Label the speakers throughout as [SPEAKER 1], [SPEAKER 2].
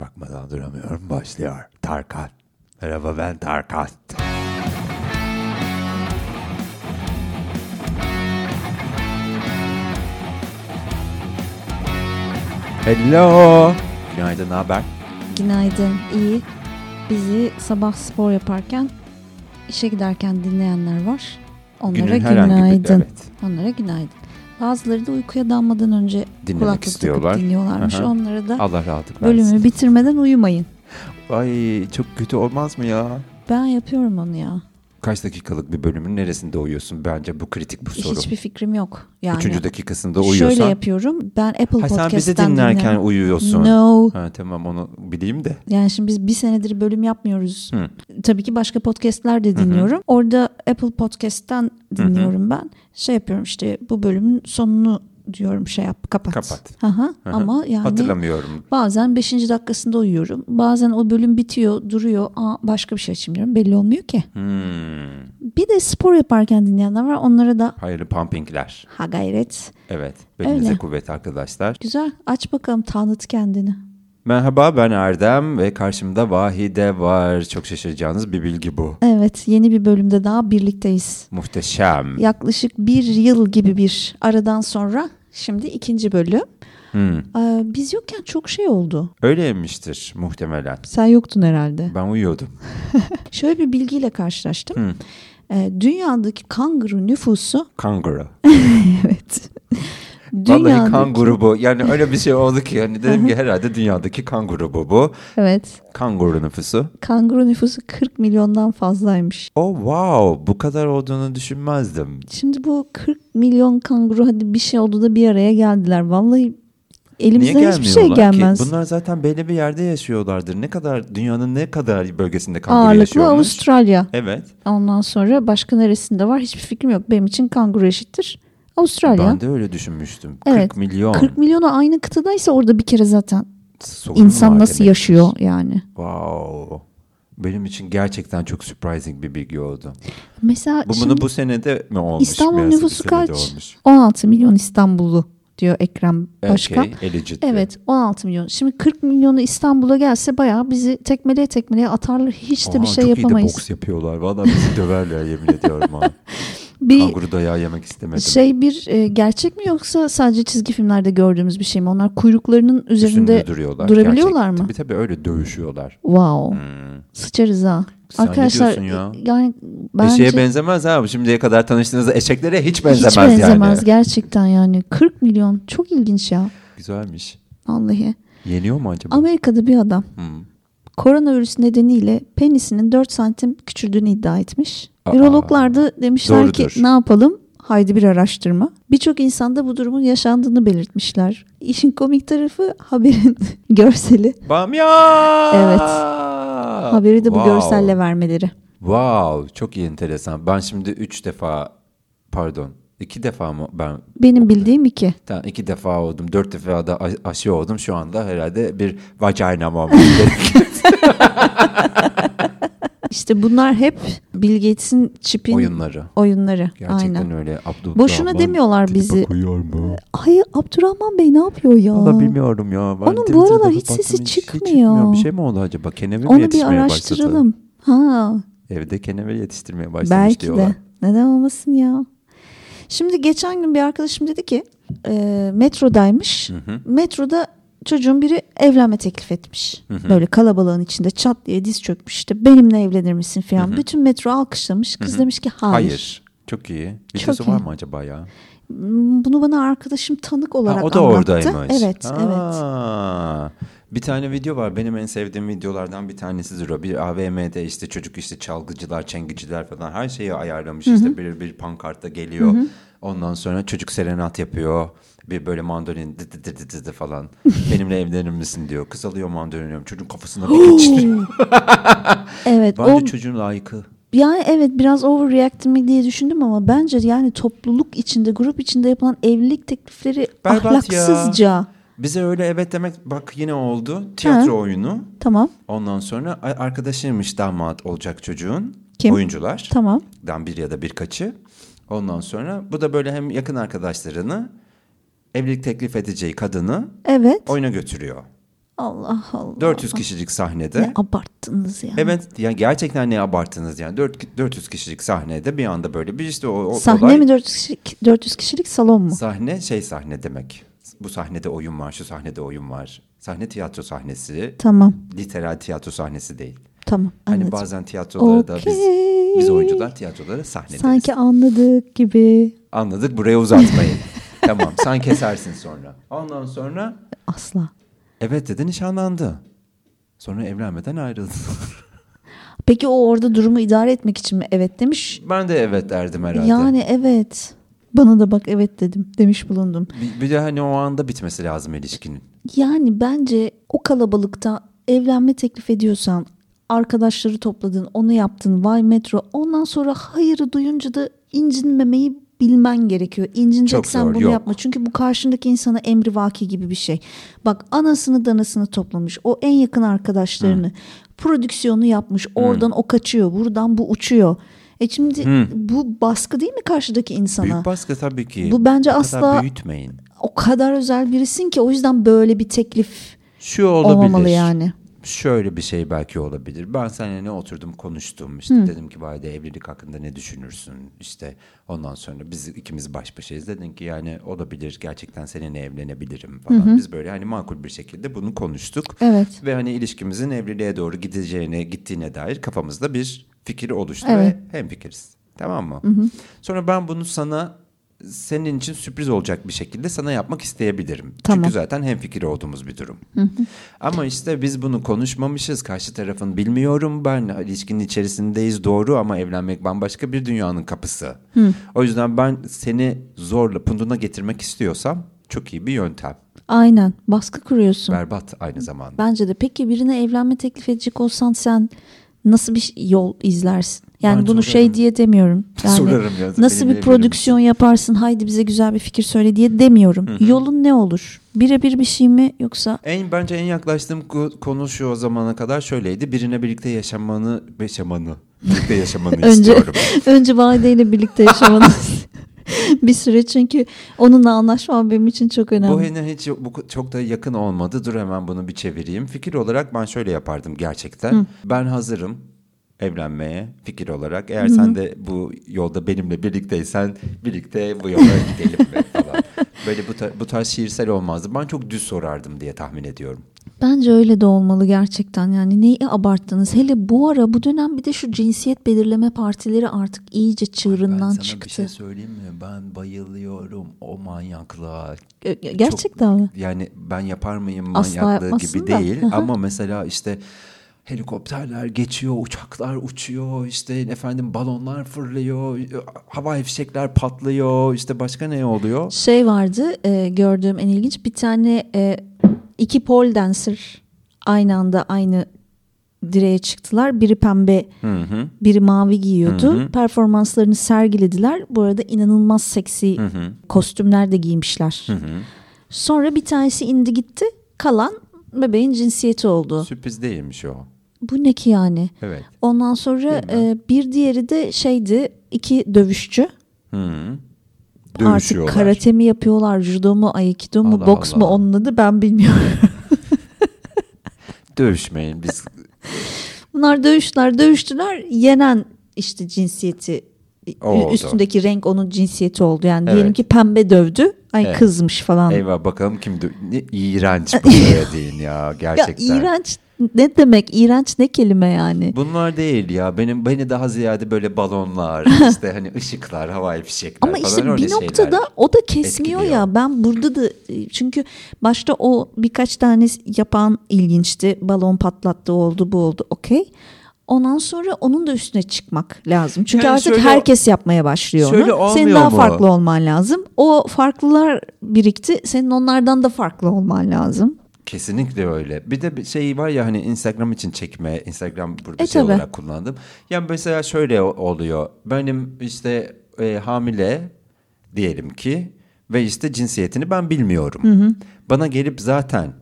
[SPEAKER 1] durmadan duramıyorum başlıyor. Tarkan. Merhaba ben Tarkan. Hello. Günaydın ne haber?
[SPEAKER 2] Günaydın, iyi. Bizi sabah spor yaparken, işe giderken dinleyenler var. Onlara
[SPEAKER 1] herhangi bir-
[SPEAKER 2] günaydın.
[SPEAKER 1] evet.
[SPEAKER 2] Onlara günaydın. Bazıları da uykuya dalmadan önce
[SPEAKER 1] Dinlemek
[SPEAKER 2] kulaklık
[SPEAKER 1] istiyorlar.
[SPEAKER 2] takıp dinliyorlarmış.
[SPEAKER 1] Aha.
[SPEAKER 2] Onlara da
[SPEAKER 1] Allah rahatlık versin.
[SPEAKER 2] bölümü bitirmeden uyumayın.
[SPEAKER 1] Ay çok kötü olmaz mı ya?
[SPEAKER 2] Ben yapıyorum onu ya.
[SPEAKER 1] Kaç dakikalık bir bölümün neresinde uyuyorsun? Bence bu kritik bu soru.
[SPEAKER 2] Hiçbir fikrim yok. Yani
[SPEAKER 1] Üçüncü dakikasında uyuyorsan.
[SPEAKER 2] şöyle yapıyorum. Ben Apple
[SPEAKER 1] ha,
[SPEAKER 2] Podcast'ten
[SPEAKER 1] sen bizi dinlerken
[SPEAKER 2] dinliyorum.
[SPEAKER 1] uyuyorsun.
[SPEAKER 2] No.
[SPEAKER 1] Ha, tamam onu bileyim de.
[SPEAKER 2] Yani şimdi biz bir senedir bölüm yapmıyoruz.
[SPEAKER 1] Hı.
[SPEAKER 2] Tabii ki başka podcastler de dinliyorum. Orada Apple Podcast'ten dinliyorum ben. Şey yapıyorum işte bu bölümün sonunu diyorum şey yap kapat.
[SPEAKER 1] Kapat.
[SPEAKER 2] Hı hı.
[SPEAKER 1] Aha.
[SPEAKER 2] Ama yani
[SPEAKER 1] Hatırlamıyorum.
[SPEAKER 2] bazen 5. dakikasında uyuyorum. Bazen o bölüm bitiyor duruyor. Aa, başka bir şey açayım diyorum. Belli olmuyor ki.
[SPEAKER 1] Hmm.
[SPEAKER 2] Bir de spor yaparken dinleyenler var. Onlara da
[SPEAKER 1] Hayırlı pumpingler.
[SPEAKER 2] ha gayret.
[SPEAKER 1] Evet. Belinize
[SPEAKER 2] Öyle.
[SPEAKER 1] kuvvet arkadaşlar.
[SPEAKER 2] Güzel aç bakalım tanıt kendini.
[SPEAKER 1] Merhaba ben Erdem ve karşımda Vahide var. Çok şaşıracağınız bir bilgi bu.
[SPEAKER 2] Evet yeni bir bölümde daha birlikteyiz.
[SPEAKER 1] Muhteşem.
[SPEAKER 2] yaklaşık bir yıl gibi bir aradan sonra şimdi ikinci bölüm.
[SPEAKER 1] Hmm,
[SPEAKER 2] Ee, biz yokken çok şey oldu.
[SPEAKER 1] Öyleymiştir muhtemelen.
[SPEAKER 2] Sen yoktun herhalde.
[SPEAKER 1] Ben uyuyordum. Hmm,
[SPEAKER 2] Şöyle bir bilgiyle karşılaştım. Ee, dünyadaki kanguru nüfusu
[SPEAKER 1] Kanguru.
[SPEAKER 2] evet.
[SPEAKER 1] Vallahi kan grubu. Yani öyle bir şey oldu ki yani dedim ki herhalde dünyadaki kan grubu bu.
[SPEAKER 2] evet.
[SPEAKER 1] Kanguru nüfusu.
[SPEAKER 2] Kanguru nüfusu 40 milyondan fazlaymış.
[SPEAKER 1] Oh wow bu kadar olduğunu düşünmezdim.
[SPEAKER 2] Şimdi bu 40 milyon kanguru hadi bir şey oldu da bir araya geldiler. Vallahi
[SPEAKER 1] Niye
[SPEAKER 2] elimizden hiçbir şey
[SPEAKER 1] gelmiyorlar
[SPEAKER 2] gelmez.
[SPEAKER 1] ki? Bunlar zaten belli bir yerde yaşıyorlardır. Ne kadar dünyanın ne kadar bölgesinde kanguru
[SPEAKER 2] Ağırlıklı
[SPEAKER 1] yaşıyormuş?
[SPEAKER 2] Avustralya.
[SPEAKER 1] Evet.
[SPEAKER 2] Ondan sonra başka neresinde var hiçbir fikrim yok. Benim için kanguru eşittir Avustralya.
[SPEAKER 1] Ben de öyle düşünmüştüm.
[SPEAKER 2] Evet.
[SPEAKER 1] 40 milyon.
[SPEAKER 2] 40 milyonu aynı kıtadaysa orada bir kere zaten
[SPEAKER 1] Sorun
[SPEAKER 2] insan
[SPEAKER 1] var
[SPEAKER 2] nasıl
[SPEAKER 1] demek.
[SPEAKER 2] yaşıyor yani.
[SPEAKER 1] Wow. Benim için gerçekten çok surprising bir bilgi oldu.
[SPEAKER 2] Mesela
[SPEAKER 1] Bu bunu
[SPEAKER 2] şimdi
[SPEAKER 1] bu senede mi olmuş?
[SPEAKER 2] İstanbul
[SPEAKER 1] Biraz da bir
[SPEAKER 2] nüfusu
[SPEAKER 1] senede
[SPEAKER 2] kaç?
[SPEAKER 1] Olmuş.
[SPEAKER 2] 16 milyon İstanbullu diyor Ekrem Başkan.
[SPEAKER 1] Okay, eligit.
[SPEAKER 2] Evet 16 milyon. Şimdi 40 milyonu İstanbul'a gelse bayağı bizi tekmeleye tekmeleye atarlar. Hiç de bir
[SPEAKER 1] Aman,
[SPEAKER 2] şey
[SPEAKER 1] çok
[SPEAKER 2] yapamayız.
[SPEAKER 1] iyi de boks yapıyorlar. Valla bizi döverler yemin ediyorum ha.
[SPEAKER 2] bir
[SPEAKER 1] Kanguru dayağı yemek istemedim.
[SPEAKER 2] şey bir e, gerçek mi yoksa sadece çizgi filmlerde gördüğümüz bir şey mi? Onlar kuyruklarının üzerinde
[SPEAKER 1] Üstünde duruyorlar.
[SPEAKER 2] durabiliyorlar mı?
[SPEAKER 1] Tabii tabii öyle dövüşüyorlar.
[SPEAKER 2] Wow.
[SPEAKER 1] Hmm.
[SPEAKER 2] Sıçarız ha.
[SPEAKER 1] Sen ne
[SPEAKER 2] Arkadaşlar e,
[SPEAKER 1] diyorsun ya?
[SPEAKER 2] yani bence
[SPEAKER 1] Eşeğe benzemez ha. Şimdiye kadar tanıştığınız eşeklere hiç benzemez,
[SPEAKER 2] hiç benzemez
[SPEAKER 1] yani.
[SPEAKER 2] gerçekten yani 40 milyon çok ilginç ya
[SPEAKER 1] Güzelmiş.
[SPEAKER 2] vallahi.
[SPEAKER 1] Yeniyor mu acaba?
[SPEAKER 2] Amerika'da bir adam
[SPEAKER 1] Hmm.
[SPEAKER 2] koronavirüs nedeniyle penisinin 4 santim küçüldüğünü iddia etmiş.
[SPEAKER 1] Aa.
[SPEAKER 2] Ürologlar da demişler
[SPEAKER 1] Doğrudur.
[SPEAKER 2] ki ne yapalım? Haydi bir araştırma. Birçok insanda bu durumun yaşandığını belirtmişler. İşin komik tarafı haberin görseli.
[SPEAKER 1] Bamya!
[SPEAKER 2] Evet. Haberi de bu
[SPEAKER 1] Wow.
[SPEAKER 2] görselle vermeleri.
[SPEAKER 1] Wow çok iyi enteresan. Ben şimdi üç defa pardon iki defa mı ben
[SPEAKER 2] Benim bildiğim iki.
[SPEAKER 1] tamam, iki defa oldum dört defa da a- aşı oldum şu anda herhalde bir vagina olmam gerek.
[SPEAKER 2] İşte bunlar hep Bill Gates'in çipin
[SPEAKER 1] oyunları.
[SPEAKER 2] oyunları.
[SPEAKER 1] Gerçekten
[SPEAKER 2] Aynen.
[SPEAKER 1] öyle. Abdullah
[SPEAKER 2] Boşuna demiyorlar bizi.
[SPEAKER 1] Koyuyor mu?
[SPEAKER 2] Ay Abdurrahman Bey ne yapıyor ya?
[SPEAKER 1] Valla bilmiyorum ya. Ben
[SPEAKER 2] Onun bu
[SPEAKER 1] Twitter'da
[SPEAKER 2] aralar
[SPEAKER 1] bir
[SPEAKER 2] hiç sesi
[SPEAKER 1] baktım,
[SPEAKER 2] çıkmıyor.
[SPEAKER 1] Bir şey mi oldu acaba? Kenevir mi
[SPEAKER 2] Onu bir
[SPEAKER 1] yetişmeye başladı?
[SPEAKER 2] araştıralım. Ha,
[SPEAKER 1] Evde kenevir yetiştirmeye başlamış
[SPEAKER 2] belki
[SPEAKER 1] diyorlar.
[SPEAKER 2] de. Neden olmasın ya? Şimdi geçen gün bir arkadaşım dedi ki e, metrodaymış. Metroda çocuğun biri evlenme teklif etmiş. Böyle kalabalığın içinde çat diye diz çökmüş. İşte benimle evlenir misin falan. Bütün metro alkışlamış. Kız demiş ki hayır.
[SPEAKER 1] Hayır. Çok iyi. Videosu
[SPEAKER 2] Çok iyi.
[SPEAKER 1] var mı acaba ya?
[SPEAKER 2] Hmm, Bunu bana arkadaşım tanık olarak
[SPEAKER 1] Ha, o da
[SPEAKER 2] anlattı.
[SPEAKER 1] oradaymış.
[SPEAKER 2] Evet, evet.
[SPEAKER 1] Aa, Bir tane video var. Benim en sevdiğim videolardan bir tanesi Züro. Bir AVM'de işte çocuk işte çalgıcılar, çengiciler falan her şeyi ayarlamış. İşte bir bir pankartta geliyor. Ondan sonra çocuk serenat yapıyor. Bir böyle mandolin dı dı dı dı dı dı falan. Benimle evlenir misin diyor. Kız alıyor mandolini. Çocuğun kafasına bir geçiriyor.
[SPEAKER 2] Evet.
[SPEAKER 1] Bence
[SPEAKER 2] o
[SPEAKER 1] çocuğun layıkı.
[SPEAKER 2] Yani evet biraz overreact mi diye düşündüm ama bence yani topluluk içinde grup içinde yapılan evlilik teklifleri
[SPEAKER 1] Berbat ya.
[SPEAKER 2] ahlaksızca.
[SPEAKER 1] Bize öyle evet demek bak yine oldu. Tiyatro oyunu.
[SPEAKER 2] Tamam
[SPEAKER 1] Ondan sonra a- arkadaşıymış damat olacak çocuğun.
[SPEAKER 2] Kim?
[SPEAKER 1] Oyuncular.
[SPEAKER 2] tamam.
[SPEAKER 1] dan bir ya da birkaçı. Ondan sonra bu da böyle hem yakın arkadaşlarını evlilik teklif edeceği kadını
[SPEAKER 2] Evet.
[SPEAKER 1] oyuna götürüyor.
[SPEAKER 2] Allah Allah.
[SPEAKER 1] 400 kişilik sahnede.
[SPEAKER 2] Ne abarttınız ya.
[SPEAKER 1] Evet yani gerçekten ne abarttınız yani Dört- 400 kişilik sahnede bir anda böyle bir işte o, o
[SPEAKER 2] Sahne
[SPEAKER 1] olay-
[SPEAKER 2] mi 400 kişilik, 400 kişilik salon mu?
[SPEAKER 1] Sahne şey sahne demek. Bu sahnede oyun var, şu sahnede oyun var. Sahne tiyatro sahnesi,
[SPEAKER 2] Tamam
[SPEAKER 1] literal tiyatro sahnesi değil.
[SPEAKER 2] tamam
[SPEAKER 1] Hani
[SPEAKER 2] anladım.
[SPEAKER 1] bazen tiyatrolara da biz, biz
[SPEAKER 2] Okey.
[SPEAKER 1] oyuncular tiyatrolara sahne deriz.
[SPEAKER 2] Sanki anladık gibi
[SPEAKER 1] Anladık buraya uzatmayın. tamam sen kesersin sonra. Ondan sonra
[SPEAKER 2] asla.
[SPEAKER 1] evet dedi nişanlandı. Sonra evlenmeden ayrıldı.
[SPEAKER 2] Peki o orada durumu idare etmek için mi evet demiş?
[SPEAKER 1] ben de evet derdim herhalde.
[SPEAKER 2] Yani evet. Bana da bak evet dedim demiş bulundum.
[SPEAKER 1] Bir, bir de hani o anda bitmesi lazım ilişkinin.
[SPEAKER 2] Yani bence o kalabalıkta evlenme teklif ediyorsan arkadaşları topladın onu yaptın vay metro ondan sonra hayırı duyunca da incinmemeyi bilmen gerekiyor. İncineceksen
[SPEAKER 1] Çok zor,
[SPEAKER 2] bunu
[SPEAKER 1] yok.
[SPEAKER 2] yapma. Çünkü bu karşındaki insana emri vaki gibi bir şey. Bak anasını danasını toplamış. O en yakın arkadaşlarını. Prodüksiyonu yapmış. Oradan o kaçıyor. Buradan bu uçuyor. E şimdi bu baskı değil mi karşıdaki insana?
[SPEAKER 1] Büyük baskı tabii ki.
[SPEAKER 2] Bu bence
[SPEAKER 1] kadar
[SPEAKER 2] asla-
[SPEAKER 1] büyütmeyin.
[SPEAKER 2] o kadar özel birisin ki o yüzden böyle bir teklif
[SPEAKER 1] Şu olabilir.
[SPEAKER 2] olmamalı yani.
[SPEAKER 1] şöyle bir şey belki olabilir. Ben seninle ne oturdum konuştum. İşte dedim ki Bayde evlilik hakkında ne düşünürsün? İşte ondan sonra biz ikimiz baş başayız. Dedin ki yani olabilir gerçekten seninle evlenebilirim falan. Biz böyle hani makul bir şekilde bunu konuştuk.
[SPEAKER 2] Evet.
[SPEAKER 1] Ve hani ilişkimizin evliliğe doğru gideceğine gittiğine dair kafamızda bir fikir oluştu
[SPEAKER 2] Evet.
[SPEAKER 1] ve hem fikiriz. Tamam mı? Sonra ben bunu sana senin için sürpriz olacak bir şekilde sana yapmak isteyebilirim.
[SPEAKER 2] Tamam.
[SPEAKER 1] Çünkü zaten hem fikir olduğumuz bir durum. Ama işte biz bunu konuşmamışız. Karşı tarafın bilmiyorum ben ilişkinin içerisindeyiz doğru ama evlenmek bambaşka bir dünyanın kapısı. O yüzden ben seni zorla punduna getirmek istiyorsam çok iyi bir yöntem.
[SPEAKER 2] Aynen baskı kuruyorsun.
[SPEAKER 1] Berbat aynı zamanda.
[SPEAKER 2] Bence de peki birine evlenme teklif edecek olsan sen nasıl bir ş- yol izlersin? Yani
[SPEAKER 1] Ben sorarım.
[SPEAKER 2] bunu şey diye demiyorum. Yani
[SPEAKER 1] Sorarım ya,
[SPEAKER 2] Nasıl
[SPEAKER 1] benim
[SPEAKER 2] bir
[SPEAKER 1] evlenim-
[SPEAKER 2] prodüksiyon yaparsın haydi bize güzel bir fikir söyle diye demiyorum. Yolun ne olur? Birebir bir şey mi yoksa
[SPEAKER 1] En bence en yaklaştığım ko- konu şu o zamana kadar şöyleydi. Birine birlikte yaşamanı, yaşamanı, birlikte yaşamanı
[SPEAKER 2] önce
[SPEAKER 1] istiyorum.
[SPEAKER 2] önce vadeyle birlikte yaşamanız bir süre çünkü onunla anlaşmam benim için çok önemli.
[SPEAKER 1] Bu henüz hiç bu çok da yakın olmadı. Dur hemen bunu bir çevireyim. Fikir olarak ben şöyle yapardım gerçekten. Ben hazırım evlenmeye fikir olarak. Eğer sen de bu yolda benimle birlikteysen birlikte bu yola gidelim be falan. Böyle bu, tar- bu tarz şiirsel olmazdı. Ben çok düz sorardım diye tahmin ediyorum.
[SPEAKER 2] Bence öyle de olmalı gerçekten yani neyi abarttınız hele bu ara bu dönem bir de şu cinsiyet belirleme partileri artık iyice çığırından çıktı.
[SPEAKER 1] şey söyleyeyim mi? Ben bayılıyorum o manyaklığa.
[SPEAKER 2] Ge- ge- Gerçekten mi?
[SPEAKER 1] Yani ben yapar mıyım
[SPEAKER 2] Asla
[SPEAKER 1] manyaklığı
[SPEAKER 2] yapmazsın
[SPEAKER 1] gibi
[SPEAKER 2] da.
[SPEAKER 1] değil ama mesela işte helikopterler geçiyor, uçaklar uçuyor, işte efendim balonlar fırlıyor, havai fişekler patlıyor, işte başka ne oluyor?
[SPEAKER 2] Şey vardı e, gördüğüm en ilginç bir tane e, iki pole dancer aynı anda aynı direğe çıktılar. Biri pembe biri mavi giyiyordu. Performanslarını sergilediler. Bu arada inanılmaz seksi kostümler de giymişler. Sonra bir tanesi indi gitti. Kalan bebeğin cinsiyeti oldu.
[SPEAKER 1] Sürpriz değilmiş o.
[SPEAKER 2] Bu ne ki yani?
[SPEAKER 1] Evet.
[SPEAKER 2] Ondan sonra
[SPEAKER 1] Bilmem.
[SPEAKER 2] e, bir diğeri de şeydi iki dövüşçü.
[SPEAKER 1] Hı.
[SPEAKER 2] Artık
[SPEAKER 1] Dövüşüyorlar.
[SPEAKER 2] karate mi yapıyorlar, judo mu, aikido mu,
[SPEAKER 1] Allah
[SPEAKER 2] boks mu
[SPEAKER 1] Allah.
[SPEAKER 2] onun adı ben bilmiyorum.
[SPEAKER 1] Dövüşmeyin biz.
[SPEAKER 2] Bunlar dövüştüler, dövüştüler. Yenen işte cinsiyeti e,
[SPEAKER 1] O oldu.
[SPEAKER 2] üstündeki renk onun cinsiyeti oldu. Yani
[SPEAKER 1] Evet.
[SPEAKER 2] diyelim ki pembe dövdü. Ay
[SPEAKER 1] Evet.
[SPEAKER 2] kızmış falan.
[SPEAKER 1] Eyvah bakalım kim dö- ne iğrenç bu söylediğin ya
[SPEAKER 2] Ya
[SPEAKER 1] gerçekten.
[SPEAKER 2] iğrenç ne demek? İğrenç ne kelime yani?
[SPEAKER 1] Bunlar değil ya. Benim beni daha ziyade böyle balonlar, işte hani ışıklar, havai fişekler
[SPEAKER 2] Ama
[SPEAKER 1] falan
[SPEAKER 2] işte
[SPEAKER 1] öyle
[SPEAKER 2] bir
[SPEAKER 1] şeyler.
[SPEAKER 2] noktada o da kesmiyor
[SPEAKER 1] etkiliyor.
[SPEAKER 2] ya. Ben burada da e, çünkü başta o birkaç tane yapan ilginçti. Balon patlattı oldu bu oldu okey. Ondan sonra onun da üstüne çıkmak lazım. Çünkü
[SPEAKER 1] Yani
[SPEAKER 2] artık
[SPEAKER 1] şöyle-
[SPEAKER 2] herkes yapmaya başlıyor
[SPEAKER 1] Şöyle
[SPEAKER 2] onu. Senin
[SPEAKER 1] olmuyor
[SPEAKER 2] daha
[SPEAKER 1] mu?
[SPEAKER 2] farklı olman lazım. O farklılar birikti. Senin onlardan da farklı olman lazım.
[SPEAKER 1] Kesinlikle öyle. Bir de bir şey var ya hani Instagram için çekme, Instagram burada
[SPEAKER 2] E,
[SPEAKER 1] şey
[SPEAKER 2] tabii.
[SPEAKER 1] olarak kullandım. Yani mesela şöyle o- oluyor. Benim işte e, hamile diyelim ki ve işte cinsiyetini ben bilmiyorum. Bana gelip zaten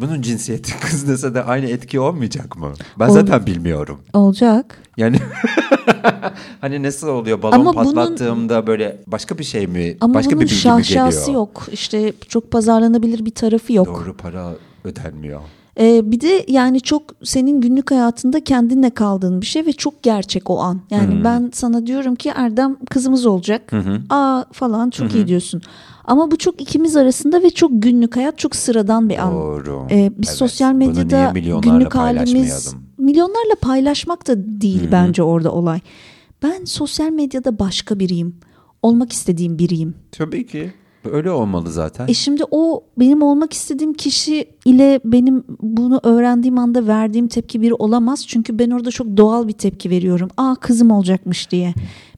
[SPEAKER 1] Bunun cinsiyeti kız dese de aynı etki olmayacak mı? Ben
[SPEAKER 2] Ol-
[SPEAKER 1] zaten bilmiyorum.
[SPEAKER 2] Olacak.
[SPEAKER 1] Yani hani nasıl oluyor balon
[SPEAKER 2] Ama bunun-
[SPEAKER 1] patlattığımda böyle başka bir şey mi?
[SPEAKER 2] Ama
[SPEAKER 1] başka
[SPEAKER 2] bunun
[SPEAKER 1] bir bilgi mi
[SPEAKER 2] şahşası
[SPEAKER 1] geliyor?
[SPEAKER 2] yok. İşte çok pazarlanabilir bir tarafı yok.
[SPEAKER 1] Doğru para ödenmiyor.
[SPEAKER 2] Ee, bir de yani çok senin günlük hayatında kendinle kaldığın bir şey ve çok gerçek o an. Yani
[SPEAKER 1] Hmm.
[SPEAKER 2] ben sana diyorum ki Erdem kızımız olacak. Aa falan çok iyi diyorsun. Ama bu çok ikimiz arasında ve çok günlük hayat çok sıradan bir an.
[SPEAKER 1] Doğru.
[SPEAKER 2] Ee, biz
[SPEAKER 1] Evet.
[SPEAKER 2] sosyal
[SPEAKER 1] Bunu niye
[SPEAKER 2] medyada
[SPEAKER 1] milyonlarla
[SPEAKER 2] günlük halimiz
[SPEAKER 1] paylaşmayalım?
[SPEAKER 2] milyonlarla paylaşmak da değil bence orada olay. Ben sosyal medyada başka biriyim. Olmak istediğim biriyim.
[SPEAKER 1] Tabii ki. Öyle olmalı zaten.
[SPEAKER 2] E şimdi o benim olmak istediğim kişi ile benim bunu öğrendiğim anda verdiğim tepki biri olamaz. Çünkü ben orada çok doğal bir tepki veriyorum. Aa kızım olacakmış diye.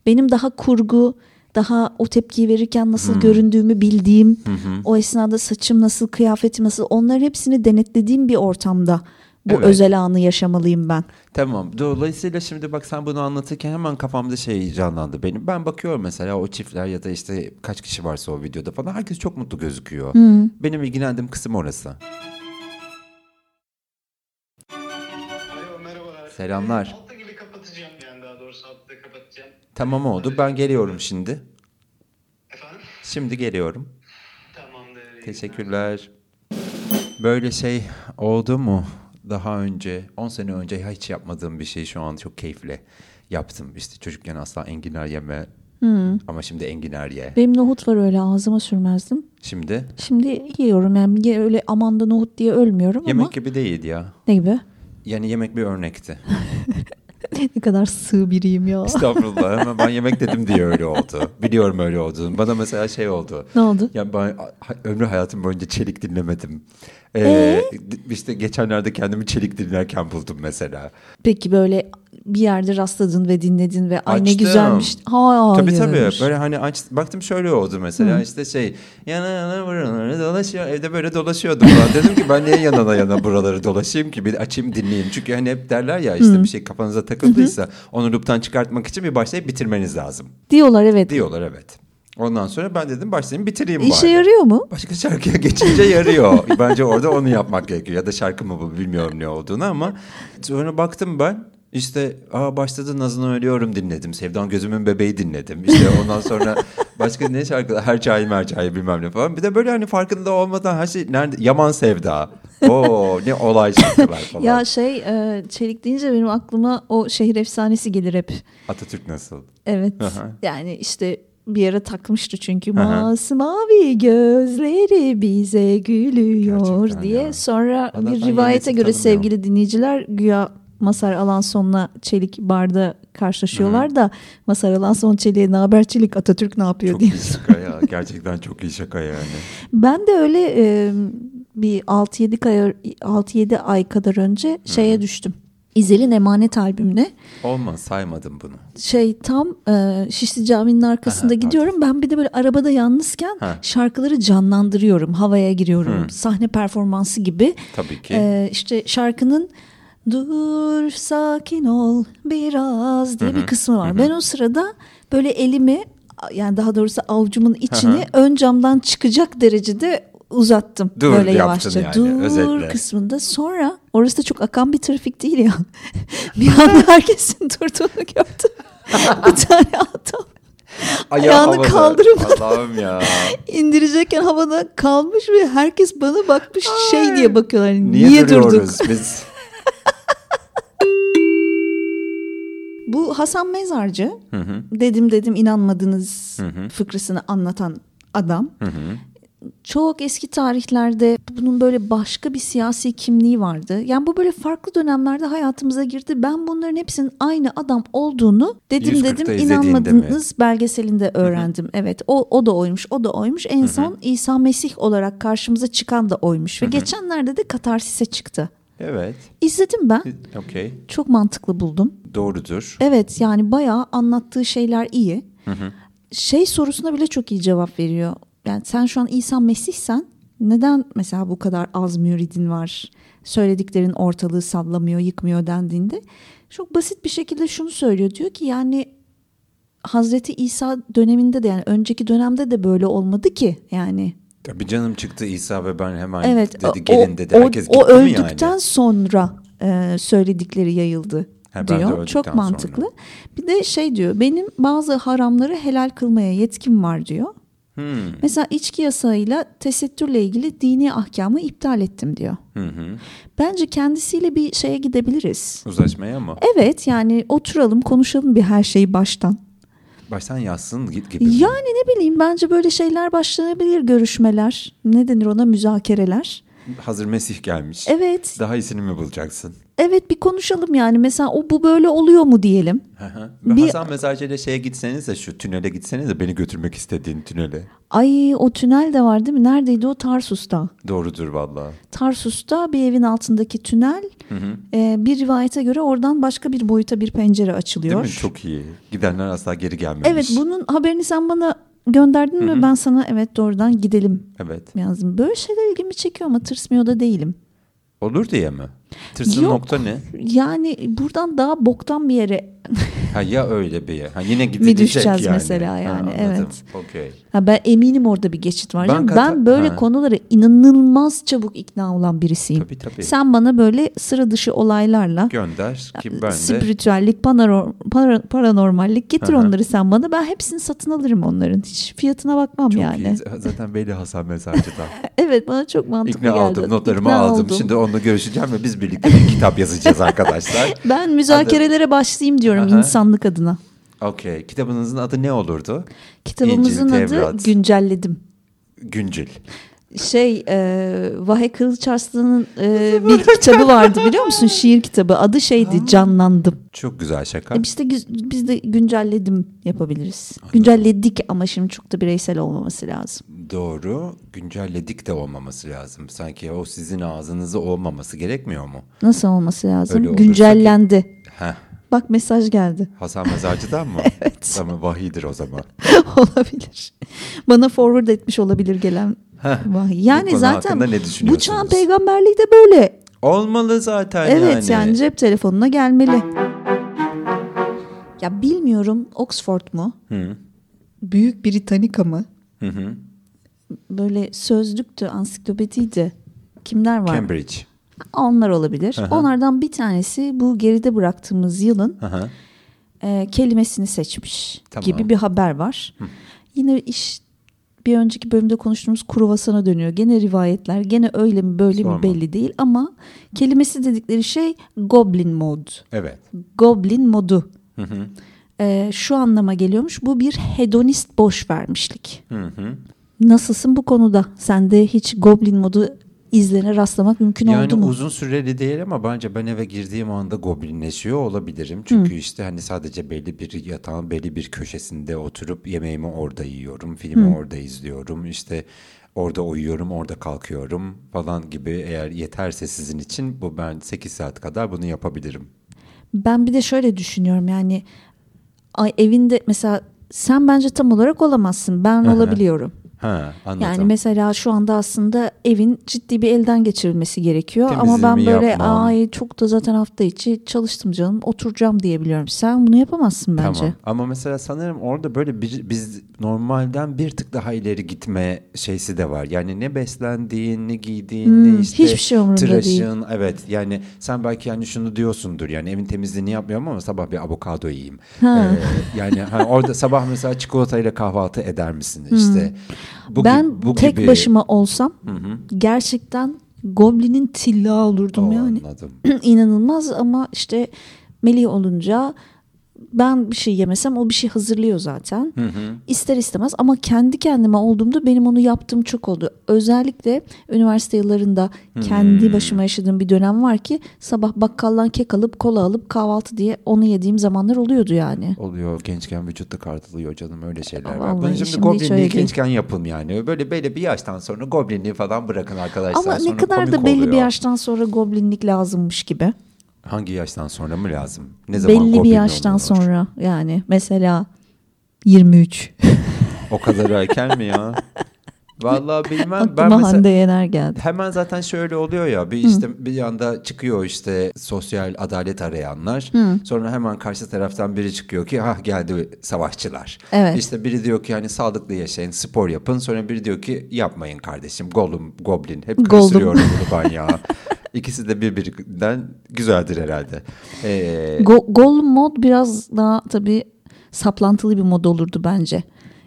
[SPEAKER 2] Benim daha kurgu, daha o tepkiyi verirken nasıl
[SPEAKER 1] Hmm.
[SPEAKER 2] göründüğümü bildiğim, o esnada saçım nasıl, kıyafetim nasıl onların hepsini denetlediğim bir ortamda bu
[SPEAKER 1] Evet.
[SPEAKER 2] özel anı yaşamalıyım ben.
[SPEAKER 1] Tamam. Dolayısıyla şimdi bak sen bunu anlatırken hemen kafamda şey canlandı benim. Ben bakıyorum mesela o çiftler ya da işte kaç kişi varsa o videoda falan herkes çok mutlu gözüküyor. Benim ilgilendiğim kısım orası.
[SPEAKER 3] Alo merhabalar.
[SPEAKER 1] Selamlar.
[SPEAKER 3] Hafta gibi kapatacağım yani daha doğrusu hafta kapatacağım.
[SPEAKER 1] Tamam oldu. Ben geliyorum şimdi.
[SPEAKER 3] Efendim?
[SPEAKER 1] Şimdi geliyorum.
[SPEAKER 3] Tamamdır. iyi
[SPEAKER 1] Teşekkürler. Böyle şey oldu mu? Daha önce, 10 sene önce ya hiç yapmadığım bir şey şu an çok keyifle yaptım. İşte çocukken asla enginar yeme
[SPEAKER 2] Hmm.
[SPEAKER 1] ama şimdi enginar ye.
[SPEAKER 2] Benim nohut var öyle ağzıma sürmezdim.
[SPEAKER 1] Şimdi
[SPEAKER 2] Şimdi yiyorum yani ye- öyle aman da nohut diye ölmüyorum ama
[SPEAKER 1] yemek gibi değil ya.
[SPEAKER 2] ne gibi?
[SPEAKER 1] Yani yemek bir örnekti.
[SPEAKER 2] ne kadar sığ biriyim ya.
[SPEAKER 1] Estağfurullah ama ben yemek dedim diye öyle oldu. Biliyorum öyle olduğunu. Bana mesela şey oldu.
[SPEAKER 2] Ne oldu?
[SPEAKER 1] Ya ben ha- ömrü hayatım boyunca çelik dinlemedim. Ee, d- işte geçenlerde kendimi çelik dinlerken buldum mesela.
[SPEAKER 2] Peki böyle bir yerde rastladın ve dinledin ve ay ne
[SPEAKER 1] Açtım.
[SPEAKER 2] güzelmiş. Hayır.
[SPEAKER 1] Tabii tabii. Böyle hani aç, baktım şöyle oldu mesela işte şey yana yana buraları dolaşıyor. Evde böyle dolaşıyordum falan. Dedim ki ben niye yana yana buraları dolaşayım ki bir açayım dinleyeyim. Çünkü hani hep derler ya işte bir şey kafanıza takıldıysa onu loop'tan çıkartmak için bir başlayıp bitirmeniz lazım.
[SPEAKER 2] Diyorlar evet.
[SPEAKER 1] Diyorlar evet. Ondan sonra ben dedim başlayayım bitireyim
[SPEAKER 2] İşe
[SPEAKER 1] bari.
[SPEAKER 2] yarıyor mu?
[SPEAKER 1] Başka şarkıya geçince yarıyor. Bence orada onu yapmak gerekiyor. Ya da şarkı mı bu bilmiyorum ne olduğunu ama. Sonra baktım ben işte aa başladı Nazını Ölüyorum dinledim. Sevdan Gözümün Bebeği dinledim. İşte ondan sonra başka ne şarkılar her çay mercai bilmem ne falan. Bir de böyle hani farkında olmadan her şey nerede? Yaman Sevda. Oo ne olay şarkılar falan.
[SPEAKER 2] Ya şey e, çelik deyince benim aklıma o şehir efsanesi gelir hep.
[SPEAKER 1] Atatürk nasıl?
[SPEAKER 2] Evet.
[SPEAKER 1] Aha.
[SPEAKER 2] Yani işte bir yere takmıştı çünkü
[SPEAKER 1] Aha.
[SPEAKER 2] masmavi gözleri bize gülüyor
[SPEAKER 1] Gerçekten
[SPEAKER 2] diye.
[SPEAKER 1] ya.
[SPEAKER 2] Sonra
[SPEAKER 1] Adam
[SPEAKER 2] bir
[SPEAKER 1] ben
[SPEAKER 2] rivayete
[SPEAKER 1] yenisi
[SPEAKER 2] göre
[SPEAKER 1] tanımıyorum.
[SPEAKER 2] sevgili dinleyiciler güya Masar Alanson'la Çelik barda karşılaşıyorlar da Masar Alanson Çelik'e ne haber Çelik Atatürk ne yapıyor
[SPEAKER 1] Çok
[SPEAKER 2] diye.
[SPEAKER 1] iyi şaka ya. Gerçekten çok iyi şaka yani.
[SPEAKER 2] Ben de öyle e, bir 6-7 kay- 6-7 ay kadar önce şeye düştüm. İzel'in Emanet albümüne
[SPEAKER 1] Olmaz saymadım bunu.
[SPEAKER 2] şey tam e, Şişli Camii'nin arkasında gidiyorum. Ben bir de böyle arabada yalnızken
[SPEAKER 1] Ha.
[SPEAKER 2] şarkıları canlandırıyorum. Havaya giriyorum. Sahne performansı gibi.
[SPEAKER 1] Tabii ki.
[SPEAKER 2] E, işte şarkının dur sakin ol biraz diye bir kısmı var. Ben o sırada böyle elimi yani daha doğrusu avucumun içini ön camdan çıkacak derecede uzattım
[SPEAKER 1] Dur
[SPEAKER 2] böyle
[SPEAKER 1] yaptın
[SPEAKER 2] yavaşça.
[SPEAKER 1] yani,
[SPEAKER 2] dur
[SPEAKER 1] özetle.
[SPEAKER 2] kısmında sonra orası da çok akan bir trafik değil ya. bir anda herkesin durduğunu gördüm. bir tane adam
[SPEAKER 1] Ayağı
[SPEAKER 2] ayağını
[SPEAKER 1] havada.
[SPEAKER 2] kaldırıp-
[SPEAKER 1] Allah'ım ya.
[SPEAKER 2] indirecekken havada kalmış ve herkes bana bakmış şey diye bakıyorlar. Hani,
[SPEAKER 1] Niye,
[SPEAKER 2] Niye, durduk?
[SPEAKER 1] duruyoruz biz?
[SPEAKER 2] Bu Hasan Mezarcı dedim dedim inanmadınız fıkrasını anlatan adam. Çok eski tarihlerde bunun böyle başka bir siyasi kimliği vardı. Yani bu böyle farklı dönemlerde hayatımıza girdi. Ben bunların hepsinin aynı adam olduğunu dedim
[SPEAKER 1] 140'ta
[SPEAKER 2] dedim
[SPEAKER 1] izlediğinde
[SPEAKER 2] inanmadınız belgeselinde öğrendim. Evet o o da oymuş o da oymuş. En son İsa Mesih olarak karşımıza çıkan da oymuş. Ve geçenlerde de Katarsis'e çıktı.
[SPEAKER 1] Evet.
[SPEAKER 2] İzledim ben.
[SPEAKER 1] Okey.
[SPEAKER 2] Çok mantıklı buldum.
[SPEAKER 1] Doğrudur.
[SPEAKER 2] Evet yani bayağı anlattığı şeyler iyi. Şey sorusuna bile çok iyi cevap veriyor. Yani sen şu an İsa Mesih'sen neden mesela bu kadar az müridin var? Söylediklerin ortalığı sallamıyor, yıkmıyor dendiğinde çok basit bir şekilde şunu söylüyor. Diyor ki yani Hazreti İsa döneminde de yani önceki dönemde de böyle olmadı ki yani
[SPEAKER 1] Tabii canım çıktı İsa ve ben hemen
[SPEAKER 2] Evet.
[SPEAKER 1] Hani dedi
[SPEAKER 2] o-
[SPEAKER 1] gelin dedi.
[SPEAKER 2] o,
[SPEAKER 1] Herkes
[SPEAKER 2] o,
[SPEAKER 1] gitti mi yani?
[SPEAKER 2] öldükten sonra e, söyledikleri yayıldı
[SPEAKER 1] Ha, ben de öldükten
[SPEAKER 2] diyor. Çok mantıklı.
[SPEAKER 1] sonra.
[SPEAKER 2] Bir de şey diyor. Benim bazı haramları helal kılmaya yetkim var diyor.
[SPEAKER 1] Hmm,
[SPEAKER 2] Mesela içki yasağıyla tesettürle ilgili dini ahkamı iptal ettim diyor.
[SPEAKER 1] Hı hı.
[SPEAKER 2] Bence kendisiyle bir şeye gidebiliriz.
[SPEAKER 1] Uzlaşmaya mı?
[SPEAKER 2] Evet yani oturalım konuşalım bir her şeyi baştan.
[SPEAKER 1] Baştan yazsın git gibi. mi?
[SPEAKER 2] Yani ne bileyim bence böyle şeyler başlanabilir görüşmeler. Ne denir ona müzakereler.
[SPEAKER 1] Hazır Mesih gelmiş.
[SPEAKER 2] Evet
[SPEAKER 1] Daha iyisini mi bulacaksın?
[SPEAKER 2] evet bir konuşalım yani mesela o bu böyle oluyor mu diyelim.
[SPEAKER 1] Hı hı. Ve
[SPEAKER 2] Bir-
[SPEAKER 1] Hasan Mezarcı ile şeye gitseniz de şu tünele gitseniz de beni götürmek istediğin tünele.
[SPEAKER 2] Ay o tünel de var değil mi? Neredeydi o Tarsus'ta?
[SPEAKER 1] Doğrudur valla.
[SPEAKER 2] Tarsus'ta bir evin altındaki tünel e, bir rivayete göre oradan başka bir boyuta bir pencere açılıyor.
[SPEAKER 1] Değil mi? Çok iyi. Gidenler asla geri gelmemiş.
[SPEAKER 2] Evet bunun haberini sen bana gönderdin mi? Ben sana evet doğrudan gidelim
[SPEAKER 1] Evet.
[SPEAKER 2] yazdım. Böyle şeyler ilgimi çekiyor ama tırsmıyor da değilim.
[SPEAKER 1] Olur diye mi? Tırsın
[SPEAKER 2] Yok.
[SPEAKER 1] nokta ne?
[SPEAKER 2] Yani buradan daha boktan bir yere
[SPEAKER 1] Ha ya öyle bir yer. Ha yine gidilecek
[SPEAKER 2] düşeceğiz
[SPEAKER 1] yani.
[SPEAKER 2] mesela yani,
[SPEAKER 1] anladım.
[SPEAKER 2] evet.
[SPEAKER 1] Okey.
[SPEAKER 2] ha ben eminim orada bir geçit var.
[SPEAKER 1] Ben
[SPEAKER 2] Ben,
[SPEAKER 1] kata-
[SPEAKER 2] ben böyle
[SPEAKER 1] Ha.
[SPEAKER 2] konulara inanılmaz çabuk ikna olan birisiyim.
[SPEAKER 1] Tabii, tabii.
[SPEAKER 2] Sen bana böyle sıra dışı olaylarla
[SPEAKER 1] Gönder ki ben de
[SPEAKER 2] spiritüellik, panaro- para- paranormallik getir
[SPEAKER 1] Hı hı.
[SPEAKER 2] onları sen bana. Ben hepsini satın alırım onların. Hiç fiyatına bakmam
[SPEAKER 1] çok
[SPEAKER 2] yani.
[SPEAKER 1] iyi. Zaten belli Hasan Mezarcı'dan.
[SPEAKER 2] Evet bana çok mantıklı
[SPEAKER 1] İkna
[SPEAKER 2] geldi.
[SPEAKER 1] aldım, notlarımı
[SPEAKER 2] İkna
[SPEAKER 1] aldım.
[SPEAKER 2] oldum.
[SPEAKER 1] Şimdi onunla görüşeceğim ve biz birlikte bir kitap yazacağız arkadaşlar.
[SPEAKER 2] Ben müzakerelere başlayayım diyorum
[SPEAKER 1] Aha.
[SPEAKER 2] insanlık adına.
[SPEAKER 1] Okey. Kitabınızın adı ne olurdu?
[SPEAKER 2] Kitabımızın
[SPEAKER 1] İncil,
[SPEAKER 2] adı
[SPEAKER 1] Tevrat.
[SPEAKER 2] güncelledim.
[SPEAKER 1] Güncül.
[SPEAKER 2] Şey e, Vahe Kılıçarslan'ın e, bir
[SPEAKER 1] şey?
[SPEAKER 2] kitabı vardı biliyor musun? Şiir kitabı. Adı şeydi Canlandım.
[SPEAKER 1] Çok güzel şaka.
[SPEAKER 2] E, biz, de, güz- biz de güncelledim yapabiliriz. Güncelledik ama şimdi çok da bireysel olmaması lazım.
[SPEAKER 1] Doğru. Güncelledik de olmaması lazım. Sanki o sizin ağzınızı olmaması gerekmiyor mu?
[SPEAKER 2] Nasıl olması lazım?
[SPEAKER 1] Öyle olursa
[SPEAKER 2] Güncellendi.
[SPEAKER 1] Heh.
[SPEAKER 2] Bak mesaj geldi.
[SPEAKER 1] Hasan Mezarcı'dan mı?
[SPEAKER 2] Evet.
[SPEAKER 1] Ama vahidir o zaman.
[SPEAKER 2] olabilir. Bana forward etmiş olabilir gelen vahiy. Yani
[SPEAKER 1] konu
[SPEAKER 2] zaten
[SPEAKER 1] hakkında ne
[SPEAKER 2] bu çağın
[SPEAKER 1] düşünüyorsunuz?
[SPEAKER 2] peygamberliği de böyle.
[SPEAKER 1] Olmalı zaten
[SPEAKER 2] Evet yani.
[SPEAKER 1] yani hani
[SPEAKER 2] cep telefonuna gelmeli. Ya bilmiyorum Oxford mu? Büyük Britanika mı? Böyle sözlüktü, ansiklopediydi. Kimler var?
[SPEAKER 1] Cambridge.
[SPEAKER 2] Onlar olabilir. Onlardan bir tanesi bu geride bıraktığımız yılın
[SPEAKER 1] Aha.
[SPEAKER 2] e, kelimesini seçmiş
[SPEAKER 1] Tamam.
[SPEAKER 2] gibi bir haber var. Yine iş bir önceki bölümde konuştuğumuz kruvasana dönüyor. Gene rivayetler gene öyle mi böyle
[SPEAKER 1] Sorma.
[SPEAKER 2] mi belli değil ama kelimesi dedikleri şey goblin mod.
[SPEAKER 1] Evet.
[SPEAKER 2] Goblin modu. E, şu anlama geliyormuş bu bir hedonist boş vermişlik.
[SPEAKER 1] Hı hı.
[SPEAKER 2] Nasılsın bu konuda? Sende hiç goblin modu izlerine rastlamak mümkün
[SPEAKER 1] Yani
[SPEAKER 2] oldu mu?
[SPEAKER 1] uzun süreli değil ama bence ben eve girdiğim anda goblinleşiyor olabilirim. Çünkü işte hani sadece belli bir yatağın belli bir köşesinde oturup yemeğimi orada yiyorum, filmi orada izliyorum, işte orada uyuyorum, orada kalkıyorum falan gibi eğer yeterse sizin için bu ben 8 saat kadar bunu yapabilirim.
[SPEAKER 2] Ben bir de şöyle düşünüyorum yani ay evinde mesela sen bence tam olarak olamazsın. Ben olabiliyorum.
[SPEAKER 1] Ha, anladım.
[SPEAKER 2] Yani mesela şu anda aslında evin ciddi bir elden geçirilmesi gerekiyor ama ben
[SPEAKER 1] Temizliğimi
[SPEAKER 2] böyle
[SPEAKER 1] yapmam.
[SPEAKER 2] ay çok da zaten hafta içi çalıştım canım oturacağım diyebiliyorum. Sen bunu yapamazsın bence.
[SPEAKER 1] Tamam. Ama mesela sanırım orada böyle bir, biz normalden bir tık daha ileri gitme şeysi de var. Yani ne beslendiğin, ne giydiğin, ne
[SPEAKER 2] Hmm,
[SPEAKER 1] işte
[SPEAKER 2] hiçbir şey umurunda değil.
[SPEAKER 1] tıraşın. Evet yani sen belki yani şunu diyorsundur. Yani evin temizliğini yapmıyorum ama sabah bir avokado yiyeyim. Ee, yani ha, orada sabah mesela çikolatayla kahvaltı eder misin işte. Bu,
[SPEAKER 2] Hmm. ben
[SPEAKER 1] gi- bu
[SPEAKER 2] tek
[SPEAKER 1] gibi-
[SPEAKER 2] başıma olsam gerçekten goblinin tilla olurdum
[SPEAKER 1] Oo,
[SPEAKER 2] yani.
[SPEAKER 1] Anladım.
[SPEAKER 2] inanılmaz ama işte Melih olunca ben bir şey yemesem o bir şey hazırlıyor zaten. İster istemez ama kendi kendime olduğumda benim onu yaptığım çok oldu. Özellikle üniversite yıllarında kendi başıma yaşadığım bir dönem var ki sabah bakkaldan kek alıp kola alıp kahvaltı diye onu yediğim zamanlar oluyordu yani.
[SPEAKER 1] Oluyor gençken vücutta kartılıyor canım öyle şeyler var.
[SPEAKER 2] Vallahi
[SPEAKER 1] Bunu şimdi,
[SPEAKER 2] şimdi hiç
[SPEAKER 1] goblinliği
[SPEAKER 2] öyle değil.
[SPEAKER 1] gençken yapın yani. Böyle böyle bir yaştan sonra goblinliği falan bırakın arkadaşlar.
[SPEAKER 2] Ama ne
[SPEAKER 1] Sonra
[SPEAKER 2] kadar da
[SPEAKER 1] komik
[SPEAKER 2] belli bir
[SPEAKER 1] oluyor.
[SPEAKER 2] yaştan sonra goblinlik lazımmış gibi.
[SPEAKER 1] Hangi yaştan sonra mı lazım? Ne
[SPEAKER 2] Belli bir
[SPEAKER 1] goblin
[SPEAKER 2] yaştan
[SPEAKER 1] olunur?
[SPEAKER 2] sonra yani mesela 23.
[SPEAKER 1] O kadar erken mi ya? Vallahi bilmem. ben
[SPEAKER 2] Aklıma
[SPEAKER 1] mesela
[SPEAKER 2] Hande Yener geldi.
[SPEAKER 1] Hemen zaten şöyle oluyor ya bir işte bir yanda çıkıyor işte sosyal adalet arayanlar. Sonra hemen karşı taraftan biri çıkıyor ki ha geldi savaşçılar.
[SPEAKER 2] Evet.
[SPEAKER 1] İşte biri diyor ki hani sağlıklı yaşayın, spor yapın. Sonra biri diyor ki yapmayın kardeşim. Gollum, goblin hep
[SPEAKER 2] Gollum.
[SPEAKER 1] karıştırıyorum bunu ben ya. İkisi de birbirinden güzeldir herhalde. Ee,
[SPEAKER 2] Go- Gollum mod biraz daha tabii saplantılı bir mod olurdu bence.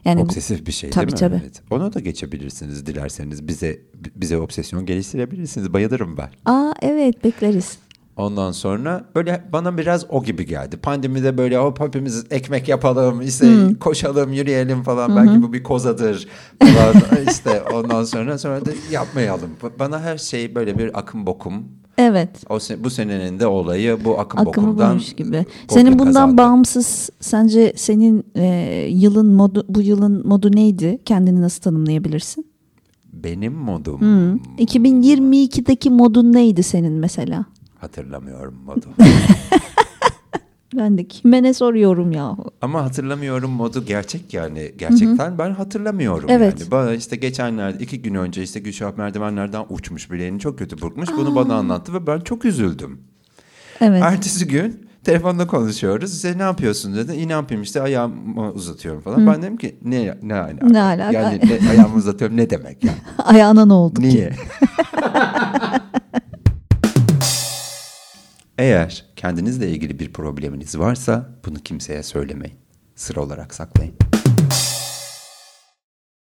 [SPEAKER 2] Yani bu-
[SPEAKER 1] Obsesif bir şey
[SPEAKER 2] Tabii,
[SPEAKER 1] değil mi?
[SPEAKER 2] tabii.
[SPEAKER 1] Evet. Ona da geçebilirsiniz dilerseniz. Bize bize obsesyon geliştirebilirsiniz. Bayılırım ben.
[SPEAKER 2] aa evet bekleriz.
[SPEAKER 1] Ondan sonra böyle bana biraz o gibi geldi. Pandemide böyle hop hepimiz ekmek yapalım, işte koşalım, yürüyelim falan. Belki bu bir kozadır falan işte ondan sonra sonra da yapmayalım. B- Bana her şey böyle bir akım bokum.
[SPEAKER 2] Evet.
[SPEAKER 1] O se- bu senenin de olayı bu akım
[SPEAKER 2] Akımı
[SPEAKER 1] bokumdan.
[SPEAKER 2] bulmuş gibi.
[SPEAKER 1] komple
[SPEAKER 2] Senin bundan
[SPEAKER 1] kazandı.
[SPEAKER 2] bağımsız sence senin e, yılın modu bu yılın modu neydi? Kendini nasıl tanımlayabilirsin?
[SPEAKER 1] Benim modum.
[SPEAKER 2] 2022'deki modun neydi senin mesela?
[SPEAKER 1] Hatırlamıyorum modu.
[SPEAKER 2] Ben de kime ne soruyorum yahu?
[SPEAKER 1] Ama hatırlamıyorum modu gerçek yani. Gerçekten ben hatırlamıyorum
[SPEAKER 2] Evet.
[SPEAKER 1] yani. Bana işte geçenlerde iki gün önce işte Gülşah merdivenlerden uçmuş bileğini çok kötü burkmuş. Bunu bana anlattı ve ben çok üzüldüm.
[SPEAKER 2] Evet.
[SPEAKER 1] Ertesi gün telefonda konuşuyoruz. İşte ne yapıyorsun dedi. İyi ne yapayım işte ayağımı uzatıyorum falan. Ben dedim ki ne ne alaka?
[SPEAKER 2] Ne alaka?
[SPEAKER 1] Yani ne, ayağımı uzatıyorum ne demek ya?
[SPEAKER 2] Ayağına ne oldu ki?
[SPEAKER 1] Niye? Eğer kendinizle ilgili bir probleminiz varsa bunu kimseye söylemeyin. Sıra olarak saklayın.